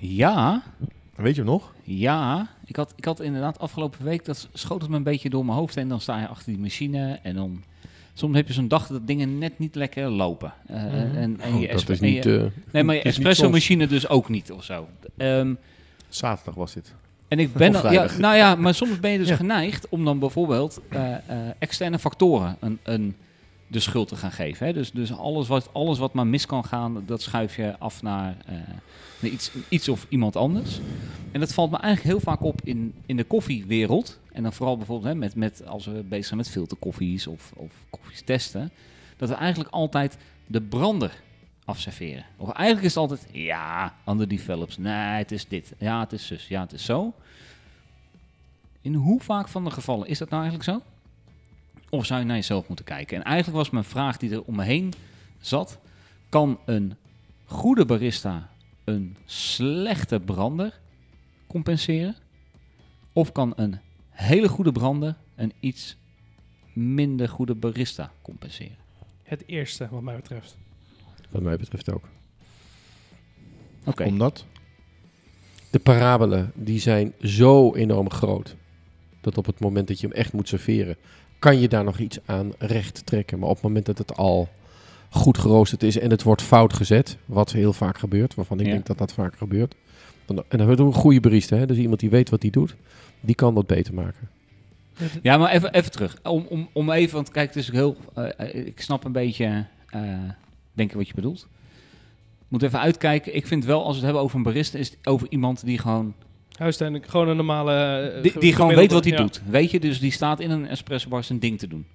Ja, Weet je hem nog? ja. Ik had, ik had inderdaad afgelopen week, dat schoot het me een beetje door mijn hoofd. En dan sta je achter die machine en dan... Soms heb je zo'n dag dat dingen net niet lekker lopen. Eh, en, en je Oh, dat espe- is en je- niet... eh, nee, maar je dat is niet espresso machine dus ook niet of zo. Ehm, Zaterdag was dit. en ik ben Of dan, ja, vrijdag. nou ja, maar soms ben je dus Ja. geneigd om dan bijvoorbeeld eh, eh, externe factoren een, een, de schuld te gaan geven. Hè? Dus, dus alles, wat, alles wat maar mis kan gaan, dat schuif je af naar, eh, naar iets, iets of iemand anders. En dat valt me eigenlijk heel vaak op in, in de koffiewereld. En dan vooral bijvoorbeeld hè, met, met, als we bezig zijn met filterkoffies of, of koffies testen. Dat we eigenlijk altijd de brander afserveren. Of eigenlijk is het altijd, ja, ander develops. Nee, het is dit. Ja, het is zus. Ja, het is zo. In hoe vaak van de gevallen is dat nou eigenlijk zo? Of zou je naar jezelf moeten kijken? En eigenlijk was mijn vraag die er om me heen zat: kan een goede barista een slechte brander compenseren? Of kan een hele goede brander een iets minder goede barista compenseren? Het eerste, wat mij betreft. Wat mij betreft ook. Oké. Omdat? De parabelen, die zijn zo enorm groot. Dat op het moment dat je hem echt moet serveren, kan je daar nog iets aan recht trekken. Maar op het moment dat het al goed geroosterd is en het wordt fout gezet, wat heel vaak gebeurt, waarvan ik Ja. denk dat dat vaak gebeurt. Dan, en dan wordt een goede barista, hè? dus iemand die weet wat hij doet, die kan dat beter maken. Het- Ja, maar even, even terug. Om, om, om even, want kijk, het is ook heel. eh, eh, ik snap een beetje, eh denk ik, wat je bedoelt. Moet even uitkijken. Ik vind wel, als we het hebben over een barista, is het over iemand die gewoon. Huistuin, gewoon een normale... eh, Die, ge- die gewoon gemiddelde- weet wat hij ja. doet. Weet je, dus die staat in een espresso bar zijn ding te doen.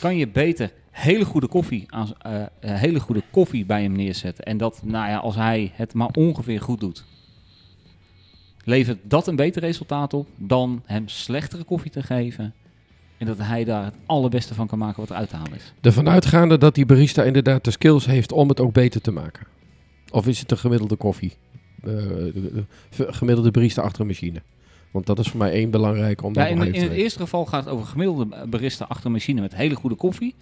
Kan je beter hele goede koffie, aan, z- eh, eh, hele goede koffie bij hem neerzetten. En dat, nou ja, als hij het maar ongeveer goed doet. Levert dat een beter resultaat op dan hem slechtere koffie te geven. En dat hij daar het allerbeste van kan maken wat er uit te halen is. Ervan uitgaande dat die barista inderdaad de skills heeft om het ook beter te maken. Of is het een gemiddelde koffie? Eh, de- de- de- gemiddelde barista achter een machine. Want dat is voor mij één belangrijk om Ja, daar nog even in, in te het weten. eerste geval gaat het over gemiddelde eh, barista achter een machine met hele goede koffie.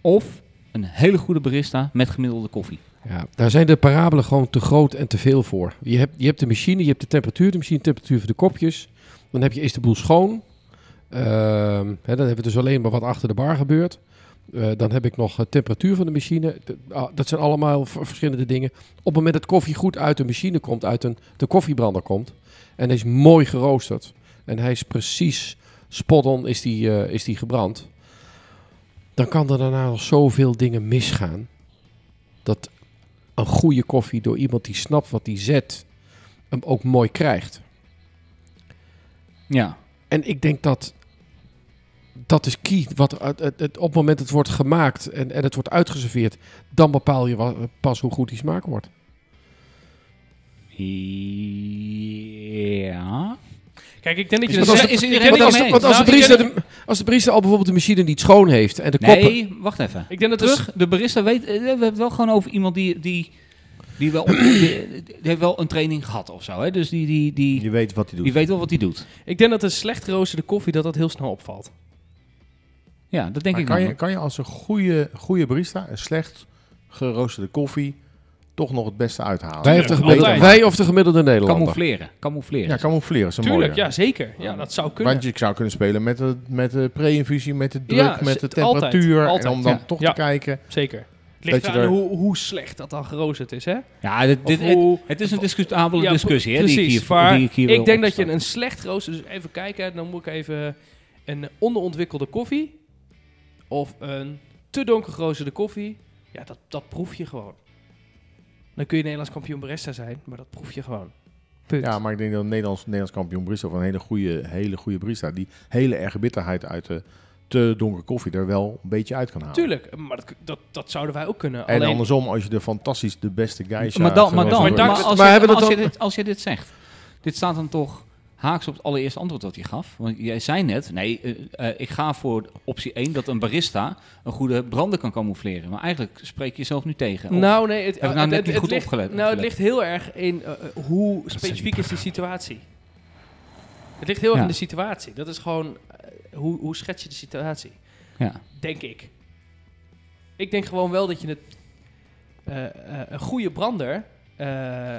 Of een hele goede barista met gemiddelde koffie. Ja, daar zijn de parabelen gewoon te groot en te veel voor. Je hebt, je hebt de machine, je hebt de temperatuur, de machine temperatuur voor de kopjes. Dan heb je eerst de boel schoon. Ehm, hè, dan hebben we dus alleen maar wat achter de bar gebeurt. Eh, dan heb ik nog eh, temperatuur van de machine. De- ah, dat zijn allemaal v- verschillende dingen. Op het moment dat koffie goed uit de machine komt, uit een, de koffiebrander komt. En hij is mooi geroosterd. En hij is precies spot on is die, eh, is die gebrand. Dan kan er daarna nog zoveel dingen misgaan. Dat een goede koffie door iemand die snapt wat hij zet, hem ook mooi krijgt. Ja, En ik denk dat dat is key. Wat, er uit- het, het- op het moment dat het wordt gemaakt en, en het wordt uitgeserveerd, dan bepaal je wa- pas hoe goed die smaak wordt. Ja. Kijk, ik denk dat je... Want dat als zegt- de- is ik iedereen denk Want het dat als je- mee de, want als, de eens? Nou, ik barista denk- de, als de barista al bijvoorbeeld de machine niet schoon heeft en de koppen... Nee, wacht even. Ik denk dat Terug, de barista weet... eh, We hebben het wel gewoon over iemand die... die, die, wel, die, die heeft wel een training gehad of zo. Hè? Dus die, die, die, Je weet wat hij doet. die weet wel wat hij doet. Ik denk dat een slecht geroosterde koffie dat dat heel snel opvalt. Ja, dat denk Maar ik kan, wel. je, kan je als een goede, goede barista een slecht geroosterde koffie toch nog het beste uithalen? Wij, of de gemiddelde, altijd. wij of de gemiddelde Nederlander. Camoufleren. Camoufleren. Ja, camoufleren is een Tuurlijk, mooie. ja, zeker. Ja, dat zou kunnen. Want je zou kunnen spelen met de, met de pre-infusie, met de druk, Ja, met z- de temperatuur. altijd, altijd, en om dan ja. toch Ja. te kijken. Zeker. Het Dat ligt je aan daar- hoe, hoe slecht dat dan geroosterd is, hè? Ja, dit, dit, Of het, hoe- het is een discutabele Ja, discussie. Hè, precies, die ik hier, maar die ik hier wil ik denk dat je opstarten. een slecht geroosterde... Dus even kijken, dan moet ik even een onderontwikkelde koffie... of een te donker geroosterde koffie... Ja, dat, dat proef je gewoon. Dan kun je Nederlands kampioen barista zijn, maar dat proef je gewoon. Punt. Ja, maar ik denk dat een Nederlands, Nederlands kampioen barista of een hele goede, hele goede barista... die hele erge bitterheid uit de te donkere koffie er wel een beetje uit kan halen. Tuurlijk, maar dat, dat, dat zouden wij ook kunnen. En Alleen, andersom, als je de fantastisch de beste geisha... Maar dan, maar dan, geroosterd- daar- maar als, Maar je, hebben we als, dat je dan- dit, als je dit zegt, dit staat dan toch haaks op het allereerste antwoord dat hij gaf. Want jij zei net, nee, eh, eh, ik ga voor optie 1 dat een barista een goede brander kan camoufleren. Maar eigenlijk spreek je jezelf nu tegen. Of- nou, nee, het, Heb ik nou net niet goed ligt, opgelet- Nou, het opgelet? ligt heel erg in eh, eh, hoe specifiek is die situatie. Het ligt heel erg Ja. in de situatie. Dat is gewoon, eh, hoe, hoe schets je de situatie? ja. Denk ik. Ik denk gewoon wel dat je het. eh, eh, een goede brander. eh,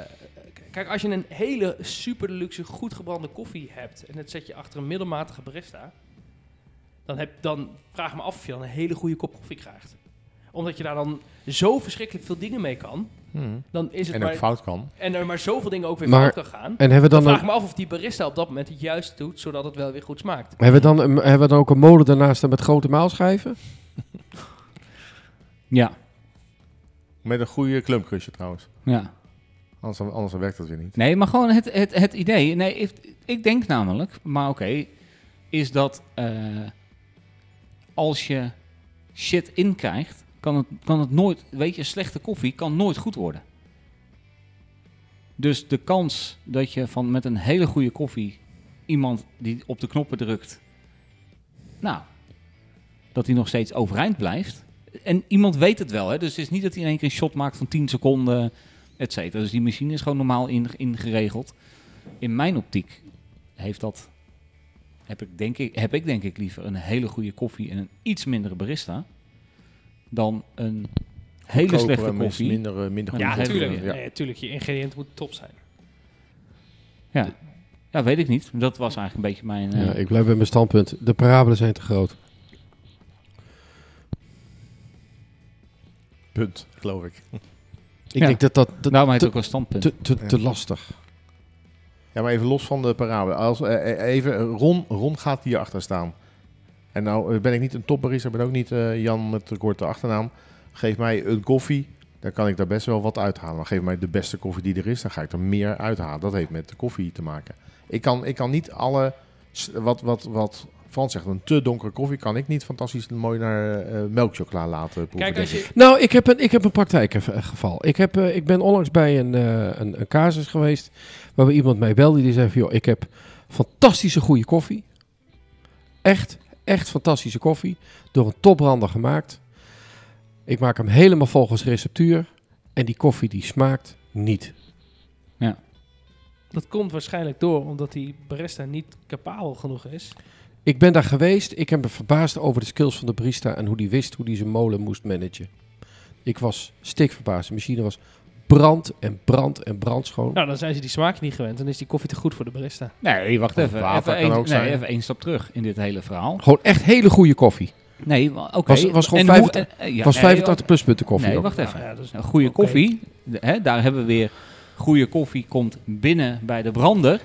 k- kijk, als je een hele super luxe, goed gebrande koffie hebt. en dat zet je achter een middelmatige barista. dan, heb, dan vraag ik me af of je dan een hele goede kop koffie krijgt. Omdat je daar dan zo verschrikkelijk veel dingen mee kan. Hmm. dan is het En maar. ook fout kan. en er maar zoveel dingen ook weer Maar- fout kan gaan. En hebben we Dan dan, vraag ik een, me af of die barista op dat moment het juist doet. zodat het wel weer goed smaakt. hebben we dan, een- hebben we dan ook een molen daarnaast met grote maalschijven? ja, Met een goede klumpkusje trouwens. ja. Anders, dan- anders dan werkt dat weer niet. Nee, maar gewoon het, het, het idee. Nee, ik, ik denk namelijk, maar oké, is dat eh, als je shit inkrijgt, kan het, kan het nooit, weet je, slechte koffie kan nooit goed worden. Dus de kans dat je van met een hele goede koffie iemand die op de knoppen drukt, nou, dat hij nog steeds overeind blijft. En iemand weet het wel, hè? dus het is niet dat hij in één keer een shot maakt van 10 seconden et cetera. Dus die machine is gewoon normaal in- ingeregeld. In mijn optiek heeft dat, heb, ik denk ik, heb ik denk ik liever een hele goede koffie en een iets mindere barista dan een hele Koper slechte en mis- koffie. Minder, eh, minder Ja, goede koffie. tuurlijk. Ja. Nee, tuurlijk, je ingrediënten moeten top zijn. Ja. ja, weet ik niet. Dat was eigenlijk een beetje mijn... eh, Ja, ik blijf bij mijn standpunt. De parabelen zijn te groot. Punt, geloof ik. Ik Ja. denk dat dat te, Daarom heet te- het ook wel standpunt. te, te, te lastig. Ja, maar even los van de parabel. Als, eh, eh, even, eh, Ron, Ron gaat hierachter staan. En nou eh, ben ik niet een topbarista, ben ook niet eh, Jan met de korte achternaam. Geef mij een koffie, dan kan ik daar best wel wat uithalen. Maar geef mij de beste koffie die er is, dan ga ik er meer uithalen. Dat heeft met de koffie te maken. Ik kan, ik kan niet alle, s- wat, wat, wat Frans zegt, een te donkere koffie kan ik niet fantastisch mooi naar eh melkchocola laten proeven. Kijk, als je, Nou, ik heb een, ik heb een praktijkgeval. Ik, heb, eh, ik ben onlangs bij een, eh, een, een casus geweest waar we iemand mee belde. Die zei van, joh, ik heb fantastische goede koffie. Echt, echt fantastische koffie. Door een topbrander gemaakt. Ik maak hem helemaal volgens receptuur. En die koffie die smaakt niet. Dat komt waarschijnlijk door omdat die barista niet capabel genoeg is. Ik ben daar geweest. Ik heb me verbaasd over de skills van de barista en hoe die wist hoe die zijn molen moest managen. Ik was stikverbaasd. De machine was brand en brand en brandschoon. Nou, dan zijn ze die smaak niet gewend. Dan is die koffie te goed voor de barista. Nee, wacht Of even. water even, kan één- ook nee, zijn. even één stap terug in dit hele verhaal. Gewoon echt hele goede koffie. Nee, wa- oké. Was- was gewoon En hoe- 85 eh, eh, ja, was nee, 85 pluspunten koffie Nee, ook. wacht even. Nou ja, dat is Een goede Oké. koffie, de- hè, daar hebben we weer. Goede koffie komt binnen bij de brander.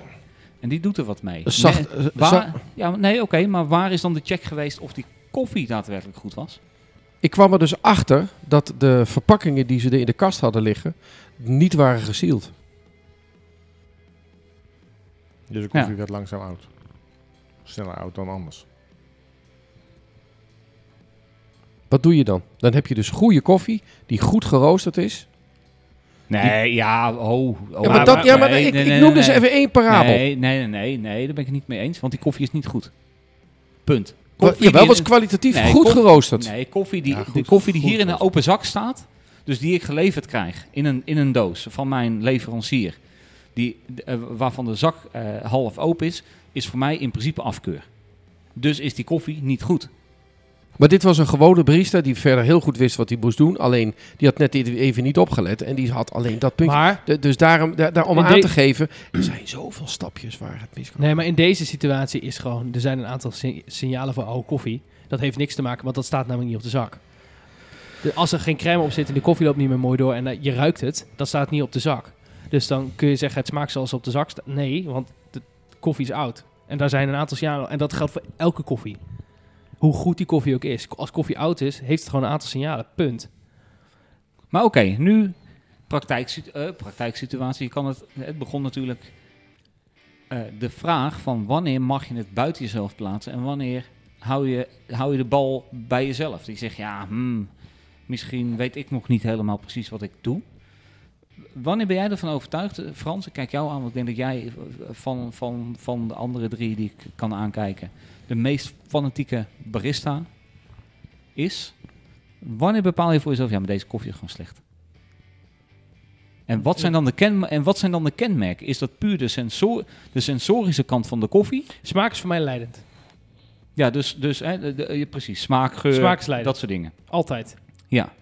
En die doet er wat mee. Nee, Zacht, eh, za- waar, ja, maar nee, oké, maar waar is dan de check geweest of die koffie daadwerkelijk goed was? ik kwam er dus achter dat de verpakkingen die ze er in de kast hadden liggen niet waren gesield. Dus de koffie werd langzaam oud. Sneller oud dan anders. Wat doe je dan? Dan heb je dus goede koffie die goed geroosterd is. Oh, Nee, ja, oh. oh Ja, maar, dat, ja, maar nee, ik, nee, ik nee, noem nee, dus even één parabel. Nee, nee, nee, nee, nee, daar ben ik het niet mee eens, want die koffie is niet goed. Punt. Wel Koffie Jawel, die- was kwalitatief Nee, goed koffie- geroosterd. Nee, koffie die, Ja, goed, de koffie die goed, hier in een goed. open zak staat, dus die ik geleverd krijg in een, in een doos van mijn leverancier, die, eh, waarvan de zak eh, half open is, is voor mij in principe afkeur. Dus is die koffie niet goed. Maar dit was een gewone barista die verder heel goed wist wat hij moest doen. Alleen, die had net even niet opgelet en die had alleen dat puntje. Maar, De- dus daarom, da- daar, om In aan de- te geven, er zijn zoveel stapjes waar het mis kan. nee, maar in deze situatie is gewoon... Er zijn een aantal si- signalen voor oude koffie. Dat heeft niks te maken, want dat staat namelijk niet op de zak. De- als er geen crème op zit en de koffie loopt niet meer mooi door... en eh, je ruikt het, dat staat niet op de zak. Dus dan kun je zeggen, het smaakt zoals op de zak staat. Nee, want de koffie is oud. En daar zijn een aantal signalen... En dat geldt voor elke koffie. Hoe goed die koffie ook is. Als koffie oud is, heeft het gewoon een aantal signalen. Punt. Maar oké, nu praktijk, praktijksituatie. Je kan het, het begon natuurlijk eh, de vraag van wanneer mag je het buiten jezelf plaatsen en wanneer hou je, hou je de bal bij jezelf. Die zegt, ja, hmm, misschien weet ik nog niet helemaal precies wat ik doe. Wanneer ben jij ervan overtuigd, eh, Frans? Ik kijk jou aan, want ik denk dat jij eh, van, van, van de andere drie die ik kan aankijken... de meest fanatieke barista is. Wanneer bepaal je voor jezelf, ja, maar deze koffie is gewoon slecht? En wat zijn dan de, kenme- en wat zijn dan de kenmerken? Is dat puur de, sensor de sensorische kant van de koffie? Smaak is voor mij leidend. Ja, dus, dus hè, de- de- ja, precies. Smaak, geur, Smaaksleider. dat soort dingen. Altijd. Ja.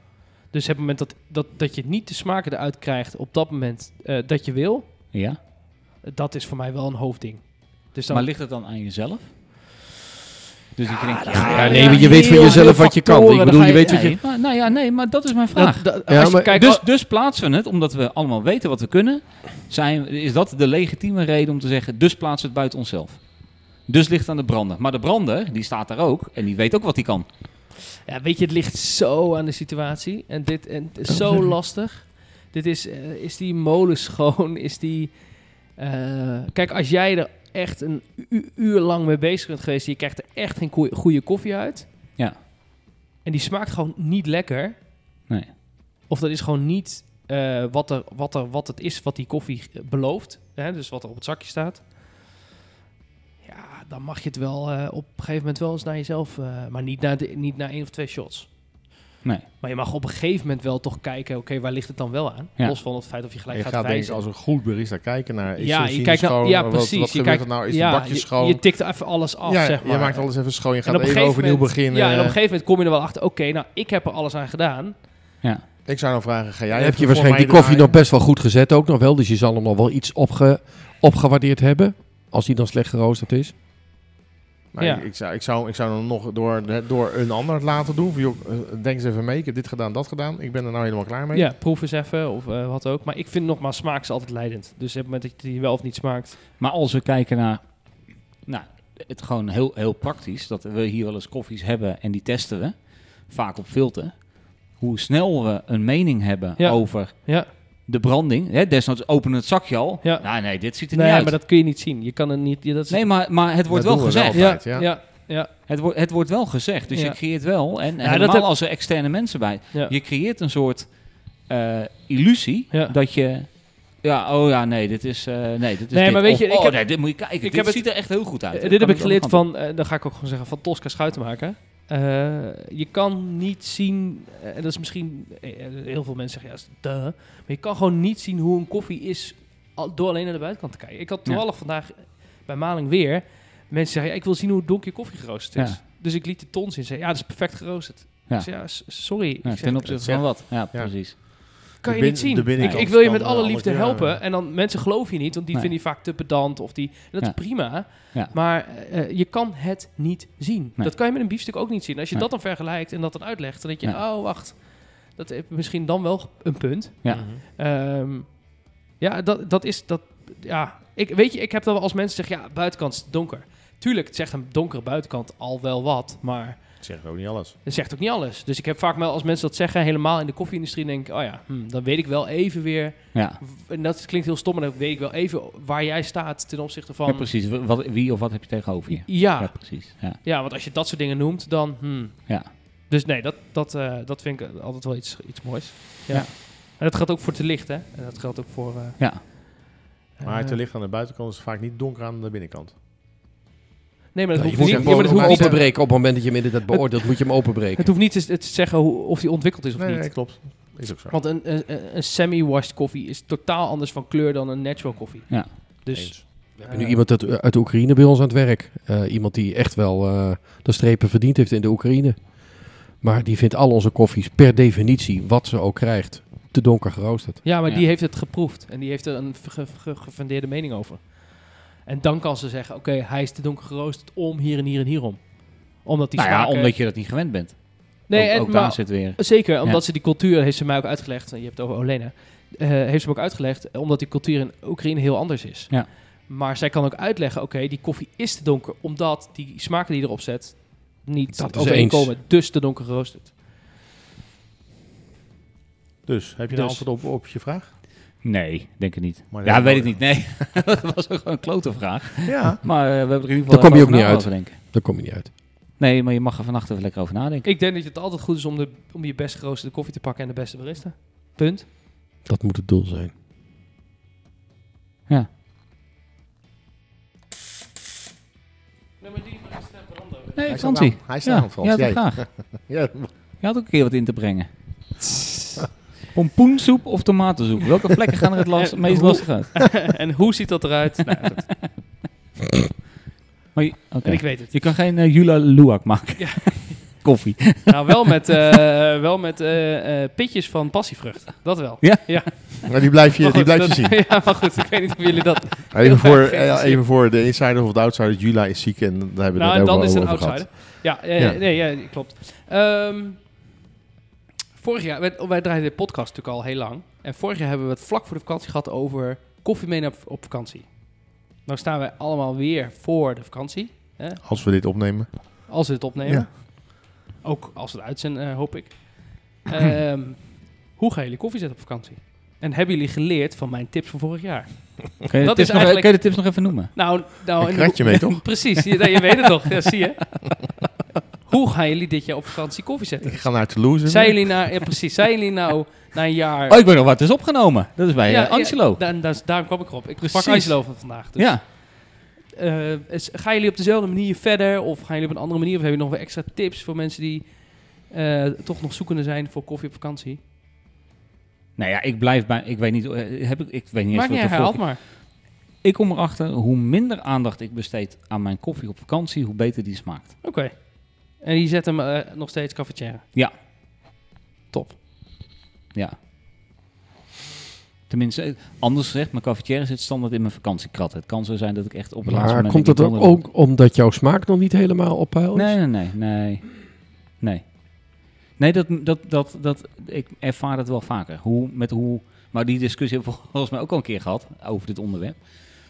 Dus op het moment dat, dat, dat je niet de smaken eruit krijgt op dat moment eh, dat je wil, ja. dat is voor mij wel een hoofdding. Dus dan Maar ligt het dan aan jezelf? Dus ik denk, ja, Ja, ja, nee, maar je heel weet van veel jezelf wat je kan. factoren, Ik dan bedoel, ga je je- weet wat nee, je... maar, nou ja, nee, maar dat is mijn vraag. dat, dat- Ja, als je maar kijkt, Oh, dus, dus plaatsen we het, omdat we allemaal weten wat we kunnen, zijn, is dat de legitieme reden om te zeggen, dus plaatsen we het buiten onszelf. Dus ligt het aan de brander. Maar de brander, die staat daar ook en die weet ook wat hij kan. Ja, weet je, het ligt zo aan de situatie. En dit en Oh, het is zo lastig. Dit is, eh, is die molen schoon? Is die. eh, kijk, als jij er echt een u- uur lang mee bezig bent geweest, en je krijgt er echt geen koe- goede koffie uit. Ja. En die smaakt gewoon niet lekker. Nee. Of dat is gewoon niet eh, wat, er, wat, er, wat het is wat die koffie eh, belooft. Hè? Dus wat er op het zakje staat. Ja, dan mag je het wel eh, op een gegeven moment wel eens naar jezelf. eh, maar niet naar, de, niet naar één of twee shots. Nee. Maar je mag op een gegeven moment wel toch kijken, oké, waar ligt het dan wel aan? Ja. Los van het feit of je gelijk je gaat, gaat denk ik wijzen. als een goed barista kijken naar... ja, Is de je machine kijkt nou, schoon? ja, eh, Wat- precies. Wat, je gebeurt kijkt, er nou? Is ja, de bakje je, schoon? Je tikt er even alles af, ja, zeg maar. je maakt alles even schoon. Je En op gaat een even gegeven overnieuw moment- beginnen. Ja, eh. en op een gegeven moment kom je er wel achter, oké, nou, ik heb er alles aan gedaan. Ja. Ik zou nou vragen, ga jij Dan heb je even voor waarschijnlijk die mij koffie nog draaien? best wel goed gezet ook nog wel. Dus je zal hem nog wel iets opge, opgewaardeerd hebben. Als die dan slecht geroosterd is. Maar Ja. ik, ik zou, ik, zou, ik zou dan nog door, de- door een ander het laten doen. Van, joh, eh, denk eens even mee. Ik heb dit gedaan, dat gedaan. Ik ben er nou helemaal klaar mee. Ja, proef eens even of eh, wat ook. Maar ik vind nogmaals, smaak is altijd leidend. Dus op het moment dat je die wel of niet smaakt. Maar als we kijken naar, nou, het gewoon heel, heel praktisch, dat we hier wel eens koffies hebben en die testen we, vaak op filter. Hoe snel we een mening hebben Ja. over Ja, de branding, hè, desnoods open het zakje al. Ja. Nou, nee, dit ziet er nee, niet uit. maar dat kun je niet zien. Je kan het niet... Ja, dat is, nee, maar, maar het wordt Dat wel doen we wel. gezegd. ja, altijd, ja. ja, ja. Het, wordt het wordt wel gezegd, dus Ja. je creëert wel, en dat helemaal heb- als er externe mensen bij, Ja. je creëert een soort eh, illusie Ja. dat je... Ja, oh ja, nee, dit is... eh, nee, dit is Nee, dit. maar weet je, Of, ik oh heb- nee, dit moet je kijken. dit heb het- ziet er echt heel goed uit. Eh, hè. dit Kan heb ik wel geleerd gaan van, eh, dan ga ik ook gewoon zeggen, van Tosca Schuitenmaker. Eh je kan niet zien, eh, en dat is misschien, eh, eh, heel veel mensen zeggen ja, duh, maar je kan gewoon niet zien hoe een koffie is al- door alleen naar de buitenkant te kijken. Ik had toevallig vandaag eh, bij Maling weer, mensen zeggen, ja, ik wil zien hoe donker je koffie geroosterd is. Ja. Dus ik liet de tons in en zei, ja, dat is perfect geroosterd. Ja. Ik zei, ja, s- sorry. Ik Ja, zeg, ten opzichte zeg- van wat? Ja, Ja. precies. kan De je niet bin- de zien. Ik, binnenkant ik wil je kan, met eh, alle alles liefde weer, eh, helpen. En dan mensen geloven je niet, want die Nee. vinden je vaak te pedant. Of die, en dat Ja. is prima. Ja. Maar eh, je kan het niet zien. Nee. Dat kan je met een biefstuk ook niet zien. Als je Nee. dat dan vergelijkt en dat dan uitlegt, dan denk je, Ja. oh wacht, dat heeft misschien dan wel een punt. Ja. Mhm. Ehm, ja, dat, dat is dat. Ja, ik weet je, ik heb dan wel als mensen zeggen, ja, buitenkant is donker. Tuurlijk, het zegt een donkere buitenkant al wel wat, maar Ik zeg ook niet alles. dat zegt ook niet alles. Dus ik heb vaak wel als mensen dat zeggen, helemaal in de koffieindustrie, denk ik, oh ja, hm, dan weet ik wel even weer. Ja. En dat klinkt heel stom, maar dan weet ik wel even waar jij staat ten opzichte van. ja, precies. W- Wat, wie of wat heb je tegenover je? Ja, Ja, ja. precies. Ja. want als je dat soort dingen noemt, dan. hm. Ja. Dus nee, dat, dat, eh, dat vind ik altijd wel iets, iets moois. Ja. Ja. En dat geldt ook voor te licht, hè? En dat geldt ook voor. eh, Ja. Maar eh, het licht aan de buitenkant is vaak niet donker aan de binnenkant. Nee, maar dat Nou, je hoeft moet niet. hem ja, maar gewoon dat hoeft niet te- openbreken op het moment dat je midden dat beoordeelt. moet je hem openbreken. Het hoeft niet te, te zeggen hoe, of die ontwikkeld is of Nee, niet. nee, klopt. Is ook zo. Want een, een- een, een semi-washed koffie is totaal anders van kleur dan een natural koffie. Ja. Dus Eens. We hebben nu iemand uit, uit Oekraïne bij ons aan het werk. Eh, iemand die echt wel eh, de strepen verdiend heeft in de Oekraïne. Maar die vindt al onze koffies per definitie, wat ze ook krijgt, te donker geroosterd. Ja, maar Ja. die heeft het geproefd en die heeft er een ge- ge- gefundeerde mening over. En dan kan ze zeggen, oké, hij is te donker geroosterd om hier en hier en hierom. Omdat die Nou ja, smaken... omdat je dat niet gewend bent. nee, ook en, ook daar maar, zit weer. zeker, omdat ze die cultuur, heeft ze mij ook uitgelegd, en je hebt het over Olena, eh, heeft ze me ook uitgelegd, eh, omdat die cultuur in Oekraïne heel anders is. Ja. Maar zij kan ook uitleggen, oké, die koffie is te donker, omdat die smaken die erop zet niet Dat is overeenkomen. Dus te donker geroosterd. Dus, heb je een Dus. antwoord op, op je vraag? Nee, denk het niet. Maar ja, dat- weet ik niet. Nee, dat was ook gewoon een klote vraag. Ja. Maar eh, we hebben er in ieder geval Daar kom je even ook niet na uit. over denken. Daar kom je niet uit. Nee, maar je mag er vannacht even lekker over nadenken. Ik denk dat het altijd goed is om, de, om je best geroosterde koffie te pakken en de beste barista. Punt. Dat moet het doel zijn. Ja. Nee, Hij staat Fransie. aan. Hij staat Ja, aan, Frans. jij had het Jij. graag. Ja, Je had ook een keer wat in te brengen. Pompoensoep of tomatensoep? Welke vlekken gaan er het last, En meest hoe- lastig uit? en hoe ziet dat eruit? nou, dat- Maar je, oké. en ik weet het. je kan geen eh, Jula Luwak maken. Ja. Koffie. Nou, wel met, eh, wel met eh, eh, pitjes van passievrucht. Dat wel. Ja? ja. maar die blijf je, die Maar blijf je goed, zien. Oh, dat- ja, maar goed, ik weet niet of jullie dat... Even Heel voor, erg eh, geïnteresseerd. even voor de insider of de outsider. Jula is ziek en daar hebben we nou, het en over, dan is het een over gehad. outsider. Ja, eh, Ja. nee, ja, klopt. Ehm, vorig jaar, wij, wij draaiden de podcast natuurlijk al heel lang. En vorig jaar hebben we het vlak voor de vakantie gehad over koffie meenemen op, op vakantie. Nou staan wij allemaal weer voor de vakantie, Als we dit opnemen. als we het opnemen. Ja. Ook als we het uitzenden, eh, hoop ik. Ehm, hoe gaan jullie koffie zetten op vakantie? En hebben jullie geleerd van mijn tips van vorig jaar? Kun je, de Dat tips is nog, eigenlijk- kun je de tips nog even noemen? Nou, nou Een en kratje hoe- mee, toch? Precies, je, nou, je weet het toch, ja, zie je. Hoe gaan jullie dit jaar op vakantie koffie zetten? Ik ga naar Toulouse. Zijn jullie nou, ja, precies, zijn jullie nou na een jaar... Oh, ik weet nog wat is opgenomen. Dat is bij Ja, eh, Angelo. ja, daar- daar- daarom kwam ik erop. Ik Precies. pak Angelo van vandaag. Dus, Ja. eh, is- gaan jullie op dezelfde manier verder? Of gaan jullie op een andere manier? Of hebben jullie nog wel extra tips voor mensen die eh, toch nog zoekende zijn voor koffie op vakantie? Nou ja, ik blijf bij... Ik weet niet, eh, heb ik, ik weet niet eens Maak wat niet, de uit, herhaal vorige het maar. Ik kom erachter, hoe minder aandacht ik besteed aan mijn koffie op vakantie, hoe beter die smaakt. Oké. En je zet hem eh, nog steeds cafetière. Ja. Top. Ja. Tenminste, eh, anders gezegd, mijn cafetière zit standaard in mijn vakantiekrat. Het kan zo zijn dat ik echt op het laatste Maar moment... komt denk dat ik, ook, donder- ook omdat jouw smaak nog niet helemaal op peil is? Nee, nee, nee, nee. Nee. Nee, dat, dat, dat, dat, ik ervaar dat wel vaker. Hoe, met hoe, maar die discussie hebben we volgens mij ook al een keer gehad over dit onderwerp.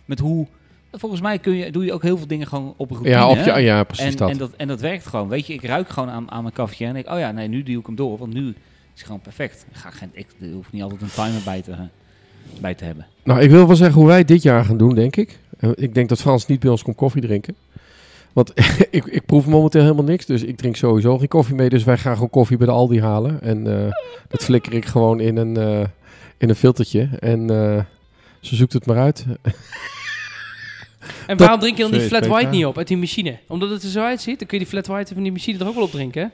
Met hoe, volgens mij kun je, doe je ook heel veel dingen gewoon op een routine. ja, op hè? je, ja, precies en, dat. En dat. En dat werkt gewoon. Weet je, ik ruik gewoon aan, aan mijn cafetière en denk, oh ja, nee, nu duw ik hem door, want nu is het gewoon perfect. Ik, ga geen, ik hoef niet altijd een timer bij te, bij te hebben. Nou, ik wil wel zeggen hoe wij dit jaar gaan doen, denk ik. Eh, Ik denk dat Frans niet bij ons komt koffie drinken. Want ik, ik proef momenteel helemaal niks, dus ik drink sowieso geen koffie mee. Dus wij gaan gewoon koffie bij de Aldi halen. En eh, dat flikker ik gewoon in een, eh, in een filtertje. En eh, ze zoekt het maar uit. En waarom drink je dan die Sorry, flat Peter. white niet op uit die machine? Omdat het er zo uitziet, dan kun je die flat white van die machine er ook wel op drinken. hè?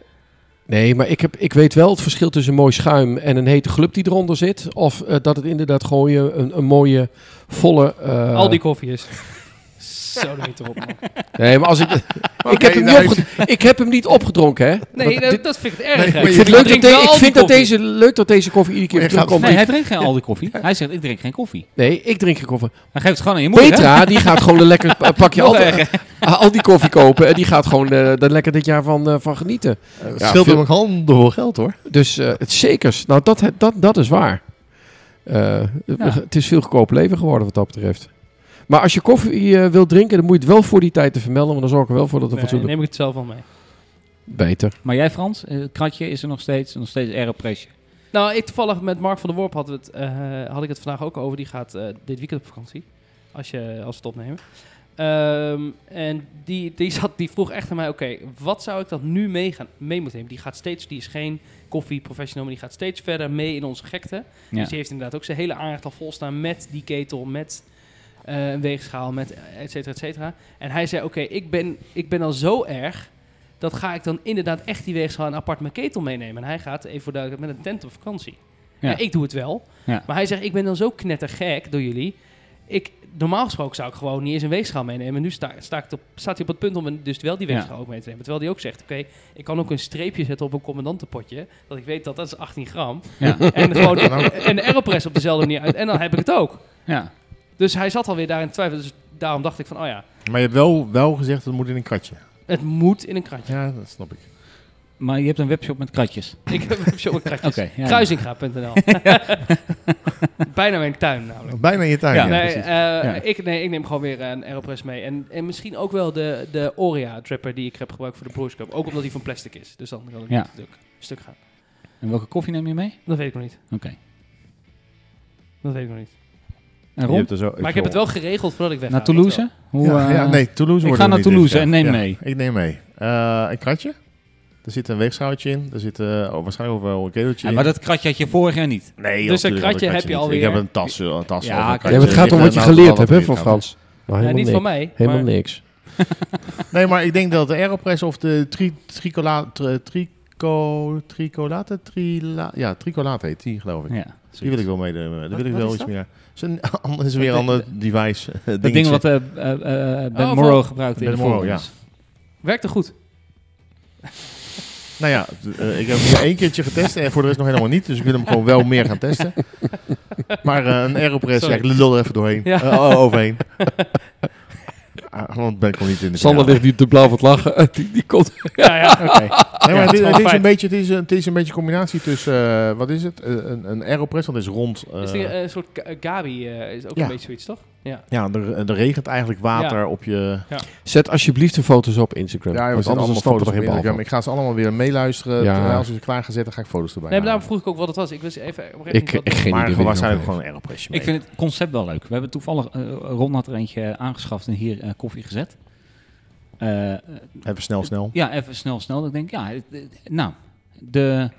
Nee, maar ik, heb, ik weet wel het verschil tussen mooi schuim en een hete glub die eronder zit. Of eh, dat het inderdaad gewoon je een, een mooie, volle... eh, Al die koffie is. zo er niet op. man. Nee, maar als ik... Maar ik, heb oké, hem nou niet is- opged- ik heb hem niet opgedronken, hè. Nee, Want dat, dit- dat vind ik het erg. Nee, hè. maar ik je vind, Ik leuk dat, drink de- wel ik al die vind dat, koffie. deze, leuk dat deze koffie iedere keer Maar je gaat- terugkomt. Nee, Ik- hij drinkt geen Aldi koffie. Hij zegt, ik drink geen koffie. Nee, ik drink geen koffie. Hij geeft het gewoon aan je moeder. hè? Petra, die gaat gewoon een lekker pa- pakje Nog al, eh, al die koffie kopen. En die gaat gewoon eh daar lekker dit jaar van, eh, van genieten. Het Ja, scheelt veel- hem ook handenvol geld hoor. Dus eh, het zekers. Nou, dat, dat, dat is waar. Eh, Het is veel goedkoper leven geworden wat dat betreft. Maar als je koffie eh, wilt drinken, dan moet je het wel voor die tijd te vermelden. Want dan zorg ik er wel voor dat het Nee, fatsoenlijk neem ik het zelf wel mee. beter. Maar jij Frans, eh, het kratje is er nog steeds, nog steeds aeropressje. Nou, ik toevallig met Mark van der Worp had, we het, eh, had ik het vandaag ook over. Die gaat eh, dit weekend op vakantie. Als, je, als we het opnemen. Ehm, en die, die, zat, die vroeg echt aan mij: oké, wat zou ik dat nu mee, gaan, mee moeten nemen? Die gaat steeds, die is geen koffieprofessional, maar die gaat steeds verder mee in onze gekte. Ja. Dus die heeft inderdaad ook zijn hele aanrecht al volstaan met die ketel, met eh, een weegschaal, met eh, et cetera, et cetera. En hij zei, oké, ik, ben, ik ben al zo erg, dat ga ik dan inderdaad echt die weegschaal en apart mijn ketel meenemen. En hij gaat, even voor duidelijkheid, met een tent op vakantie. Ja. Ja. ik doe het wel. Ja. Maar hij zegt, ik ben dan zo knettergek door jullie. Ik, normaal gesproken zou ik gewoon niet eens een weegschaal meenemen. Nu sta, sta ik op, staat hij op het punt om een- dus wel die Ja. weegschaal ook mee te nemen. Terwijl hij ook zegt, oké, ik kan ook een streepje zetten op een commandantenpotje. Dat ik weet dat dat is 18 gram. Ja. En gewoon en de Aeropress op dezelfde manier uit. En dan heb ik het ook. ja. Dus hij zat alweer daar in twijfel. Dus daarom dacht ik van, oh ja, Maar je hebt wel, wel gezegd dat het moet in een kratje. het moet in een kratje. Ja, dat snap ik. Maar je hebt een webshop met kratjes. Ik heb zo een kratje. Oké, ja, ja. Kruisinga.nl. Bijna mijn tuin namelijk. Bijna in je tuin. Ja, ja. nee, precies. eh, ik, nee, ik neem gewoon weer eh, een Aeropress mee. En, en misschien ook wel de, de Oria dripper die ik heb gebruikt voor de Brewers Cup. Ook omdat die van plastic is. Dus dan kan het Ja. niet stuk, stuk gaan. En welke koffie neem je mee? Dat weet ik nog niet. Oké. Dat weet ik nog niet. En Je Ron, hebt er zo- Maar ik heb het wel geregeld voordat ik weg naar Toulouse? Hoe, Ja, eh, ja, nee, Toulouse ik wordt ga er naar niet Toulouse dit, ja. en neem Ja, mee. Ik neem mee. Eh, een kratje. Er zit een weegschautje in. Er zit eh, oh, waarschijnlijk ook wel een keteltje Ja, in. maar dat kratje had je vorig jaar niet. Nee, Dus een natuurlijk had ik kratje heb je niet. alweer. Ik heb een tas. eh, Een tas Ja, of een kijk. Ja, kratje. maar het gaat om wat je eh, Ligt er geleerd nou hebt hè, van wat erin gaat. Frans. Maar Ja, helemaal niet niks. van mij. Helemaal maar- niks. Nee, maar ik denk dat de Aeropress of de tri, tricola, tri, trico, tricolate, trila, ja, tricolate heet die, geloof ik. Ja, Die wil ik wel mee. doen. Daar wil Wat- ik wat wel is iets dat? meer. Het is een ander- is weer een ander device. eh, Dat ding dingetje. wat eh eh, eh, Ben Oh, Morrow van- gebruikte Ben in de Morrow, voorrondes. Werkte goed. Nou ja, d- eh, ik heb hem één keertje getest en voor de rest nog helemaal niet. Dus ik wil hem gewoon wel meer gaan testen. Maar eh, een Aeropress, ja, Sorry. ik lul er even doorheen. Ja. Eh, oh, overheen. Ah, want ben ik al niet in de Sander finale. ligt nu te blauw van het lachen. Die, die komt... Ja, ja. Oké. Nee, Ja, maar het is dit, wel dit is fijn. een beetje, dit is een, het is een beetje een combinatie tussen, eh, wat is het? Eh, een, een Aeropress, want het is rond. eh, Is die, eh, een soort Ga- eh, Gabi eh, is ook Ja. een beetje zoiets, toch? Ja. ja, er, er regent eigenlijk water op je... Zet alsjeblieft de foto's op Instagram. Ja, we want zetten anders dan allemaal snappen foto's we op er geen bal Instagram. van. Ik ga ze allemaal weer meeluisteren. Ja. Terwijl Als ik ze klaargezet, dan ga ik foto's erbij Nee, maar daarom halen. vroeg ik ook wat het was. Ik wist even oprecht Ik niet wat echt geen Maar idee. wie gewoon die waarschijnlijk nog gewoon een Aeropressje mee. Ik vind het concept wel leuk. We hebben toevallig, eh, Ron had er eentje aangeschaft en hier eh, koffie gezet. Eh, Even snel, snel. ja, even snel, snel. Dat ik denk, ja, het- het- nou, de,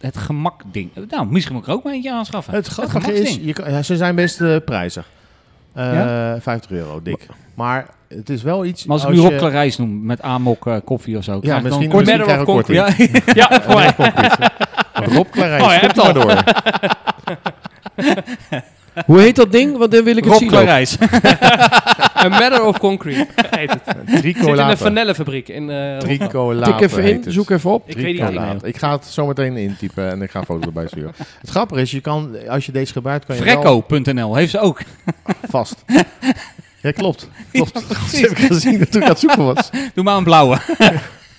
het gemakding. Eh, Nou, misschien moet ik er ook maar eentje aanschaffen. Het grappige is, gemaksding. je kan- ja, ze zijn best eh, prijzig. Eh, Ja? 50 euro dik. Maar het is wel iets... Maar als ik nu Rob Clarijs noem met Amok eh, koffie of zo. krijg ik dan misschien- een korting? misschien krijgen we korting. Ja, Ja, voor mij. Rob Clarijs, Oh, je komt hebt er maar door. heeft. Hoe heet dat ding? Want dan wil ik het Rob zien. ook. Clarijs. A Matter of Concrete heet het. Zit in een Tricolater. vanellenfabriek in eh, Rotterdam. Tricolater Tik even heet in, het. zoek even op. Ik weet niet. Tricolater. Ik- Ik ga het zo meteen intypen en ik ga een foto erbij sturen. Het grappige is, je kan, als je deze gebruikt, kan je wel Frecco.nl heeft ze ook. vast. Ja, klopt. klopt. dat heb ik gezien toen ik aan het zoeken was. Doe maar een blauwe.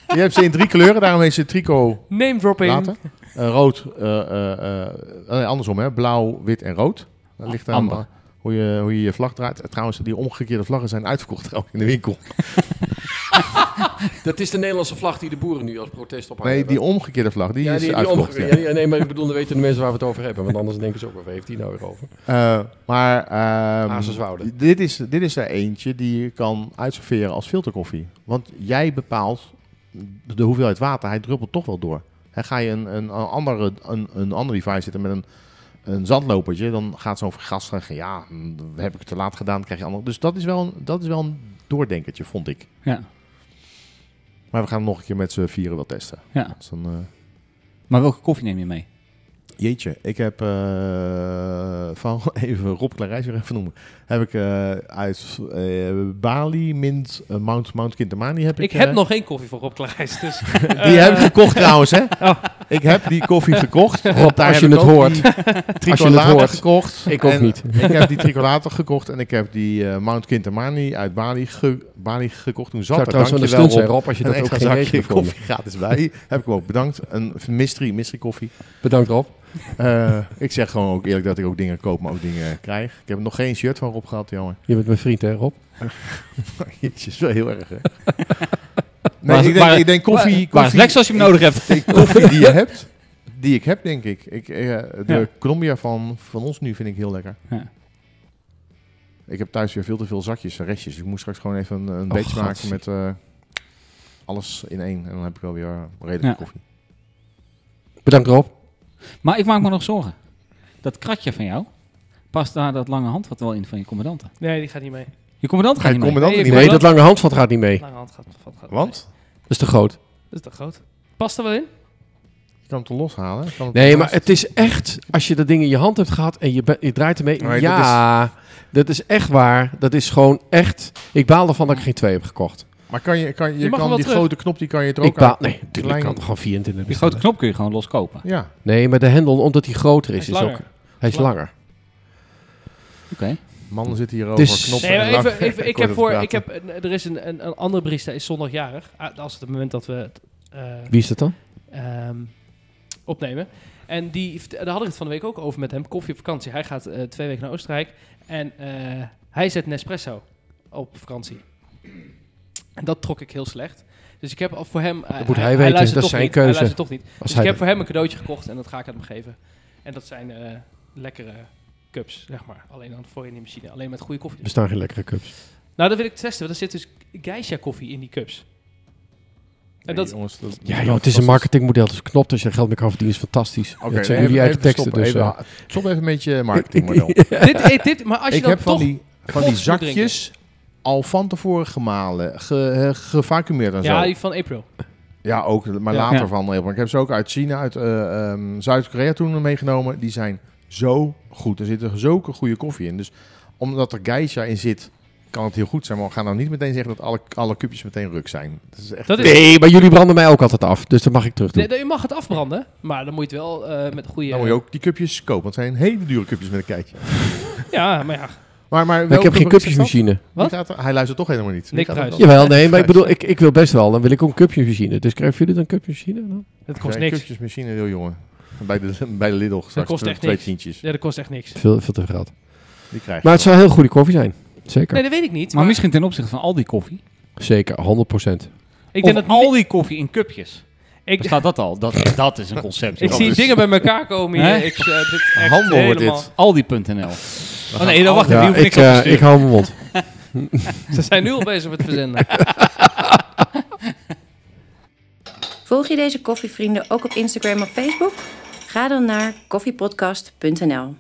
Je hebt ze in drie kleuren, daarom heet ze trico Name dropping. later. Eh, rood, eh, eh, eh, nee, andersom hè, blauw, wit en rood. Dat ligt aan Amber. eh, hoe, je, hoe je je vlag draait. Eh, Trouwens, die omgekeerde vlaggen zijn uitverkocht trouwens in de winkel. Oh, Dat is de Nederlandse vlag die de boeren nu als protest ophangen. Nee, die omgekeerde vlag, die ja, is die, die uitverkocht. omge- ja. ja, ja, nee, maar ik bedoel, dan weten de mensen waar we het over hebben. Want anders denken ze ook, waar heeft die nou weer over? Eh, maar ehm, Azenswoude. dit, is, dit is er eentje die je kan uitserveren als filterkoffie. Want jij bepaalt de hoeveelheid water. Hij druppelt toch wel door. Hè, ga je een, een, een andere, een, een ander device zitten met een, een zandlopertje... dan gaat zo'n vergast zeggen... ja, mm, heb ik het te laat gedaan, krijg je ander. Dus dat is wel een, dat is wel een doordenkertje, vond ik. Ja, Maar we gaan hem nog een keer met z'n vieren wel testen. ja. Dat is een, eh, Maar welke koffie neem je mee? Jeetje, ik heb eh, van even Rob Clarijs weer even noemen. Heb ik eh, uit eh, Bali, Mint, eh, Mount, Mount Kintamani heb ik. Ik heb eh, nog geen koffie voor Rob Klarijs, dus... Die heb ik gekocht trouwens, hè? Ik heb die koffie gekocht. Oh. Rob, Daar als heb je ik het ook hoort. die het Tricolade hoort. gekocht. Ik ook En niet. Ik heb die tricolator gekocht en ik heb die eh, Mount Kintamani uit Bali, ge- Bali gekocht. Toen zat Zou er, trouwens wel een dankjewel stunt Rob. zijn, Rob, als je een dat ook extra geen zakje rekening vond. koffie gratis bij. Heb ik hem ook bedankt. Een mystery, mystery koffie. Bedankt, Rob. Eh, ik zeg gewoon ook eerlijk dat ik ook dingen koop, maar ook dingen krijg. Ik heb nog geen shirt van Rob gehad, jongen. Je bent mijn vriend, hè, Rob? Het is wel heel erg, hè? Nee, Maar is- ik, denk, maar- ik denk Maar- koffie... Maar het koffie, lekker als je hem nodig hebt. ik denk koffie die je hebt, die ik heb, denk ik. ik eh, de Ja. Colombia van, van ons nu vind ik heel lekker. Ja. Ik heb thuis weer veel te veel zakjes en restjes. Ik moet straks gewoon even een, een Oh, beetje maken gatsie. met eh, alles in één. En dan heb ik wel weer eh, redelijk Ja. koffie. Bedankt, Rob. Maar ik maak me nog zorgen. Dat kratje van jou, past daar dat lange handvat wel in van je commandanten? Nee, die gaat niet mee. Je commandant gaat Ga je niet mee. commandant Nee, ik niet mee? Nee, dat lange handvat gaat niet mee. Lange hand gaat, gaat, gaat Want? Dat is te groot. mee. Dat is te groot. Past er wel in? Je kan het er loshalen. je kan het Nee, ernaast- maar het is echt, als je dat ding in je hand hebt gehad en je, be- je draait ermee. Maar dat ja, dat is... echt waar. Dat is gewoon echt. Ik baal ervan dat ik geen twee heb gekocht. Maar kan je, kan, je, Je mag kan wel die terug. grote knop, die kan je er Ik ook baal, aan... nee, natuurlijk klein- kan er gewoon 24 Die grote bestellen. knop kun je gewoon los kopen. Ja. Nee, maar de hendel, omdat hij groter Hij is, is is, ook. langer. Hij is Lang- langer. Oké. Mannen zitten hier over Dus- knoppen Nee, maar en even, lang- even, ik kort heb voor, over ik heb, een- er is een, een, een andere barista is zondagjarig. Ah, Als het het moment dat we het eh, Wie is dat dan? ehm, opnemen. En die, vert- daar had ik het van de week ook over met hem. Koffie op vakantie. Hij gaat eh, twee weken naar Oostenrijk. En eh, hij zet Nespresso op vakantie. En dat trok ik heel slecht. Dus ik heb al voor hem... eh, moet hij weten, luistert dat is toch zijn niet, hij keuze. luistert toch niet. Als dus hij ik heb dat- voor hem een cadeautje gekocht en dat ga ik aan hem geven. En dat zijn eh, lekkere cups, zeg maar. Alleen dan voor in die machine. Alleen met goede koffie. Er bestaan geen lekkere cups. Nou, dat wil ik testen. Want er zit dus geisha koffie in die cups. En dat, jongens, dat- Ja, joh, het is een marketingmodel. Dus knopt als je er geld mee kan verdienen, is fantastisch. Oké, dat zijn nee, jullie even- uit de even teksten. stoppen, Dus, even, eh, ha- stop even met je marketingmodel. dit, eh, dit, maar als je ik dan heb van toch... die, van die kots moet drinken. zakjes al van tevoren gemalen, ge, eh, gevacumeerd en ja, zo. die van April. Ja, ook, maar Ja. later Ja. van. Maar ik heb ze ook uit China, uit eh, ehm, Zuid-Korea toen meegenomen. Die zijn zo goed. Er zit zulke goede koffie in. Dus omdat er geisha in zit, kan het heel goed zijn. Maar we gaan nou niet meteen zeggen dat alle, alle cupjes meteen ruk zijn. Dat is echt... Dat is, Nee, maar jullie branden mij ook altijd af. Dus dat mag ik terug doen. nee, nee, je mag het afbranden, maar dan moet je het wel eh, met goede... Dan moet je ook die cupjes kopen. Want het zijn hele dure cupjes met een kijkje. Ja, maar ja. Maar, maar Maar ik heb geen cupjes cupjesmachine. Wat? Hij luistert toch helemaal niet. Nick Wie gaat er Kruis. dan? Jawel, nee, maar ik bedoel, ik, ik wil best wel. Dan wil ik ook een cupjesmachine. Dus krijgen jullie dan een Nou, cupjesmachine? dan? Het kost Zijn niks. cupjesmachine, joh, jongen. Bij de, bij de Lidl straks kost twee, echt twee niks. tientjes. Ja, dat kost echt niks. Veel, veel te veel geld. Die krijg je. Maar het zou heel goede koffie zijn. Zeker. Nee, dat weet ik niet. Maar misschien ten opzichte van al die koffie. Zeker, 100%. ik denk dat al die koffie in cupjes. Ik, Bestaat dat al? Dat, dat is een concept. ik joh. zie dus- dingen bij elkaar komen hier. Hè? Ik, eh, dit is echt Handel wordt helemaal... dit. Aldi.nl. Oh nee, dan wacht even. die Ja, hoeft ik, niks op eh, te sturen. ik hou mijn mond. Ze zijn nu al bezig met verzenden. Volg je deze koffievrienden ook op Instagram of Facebook? Ga dan naar koffiepodcast.nl.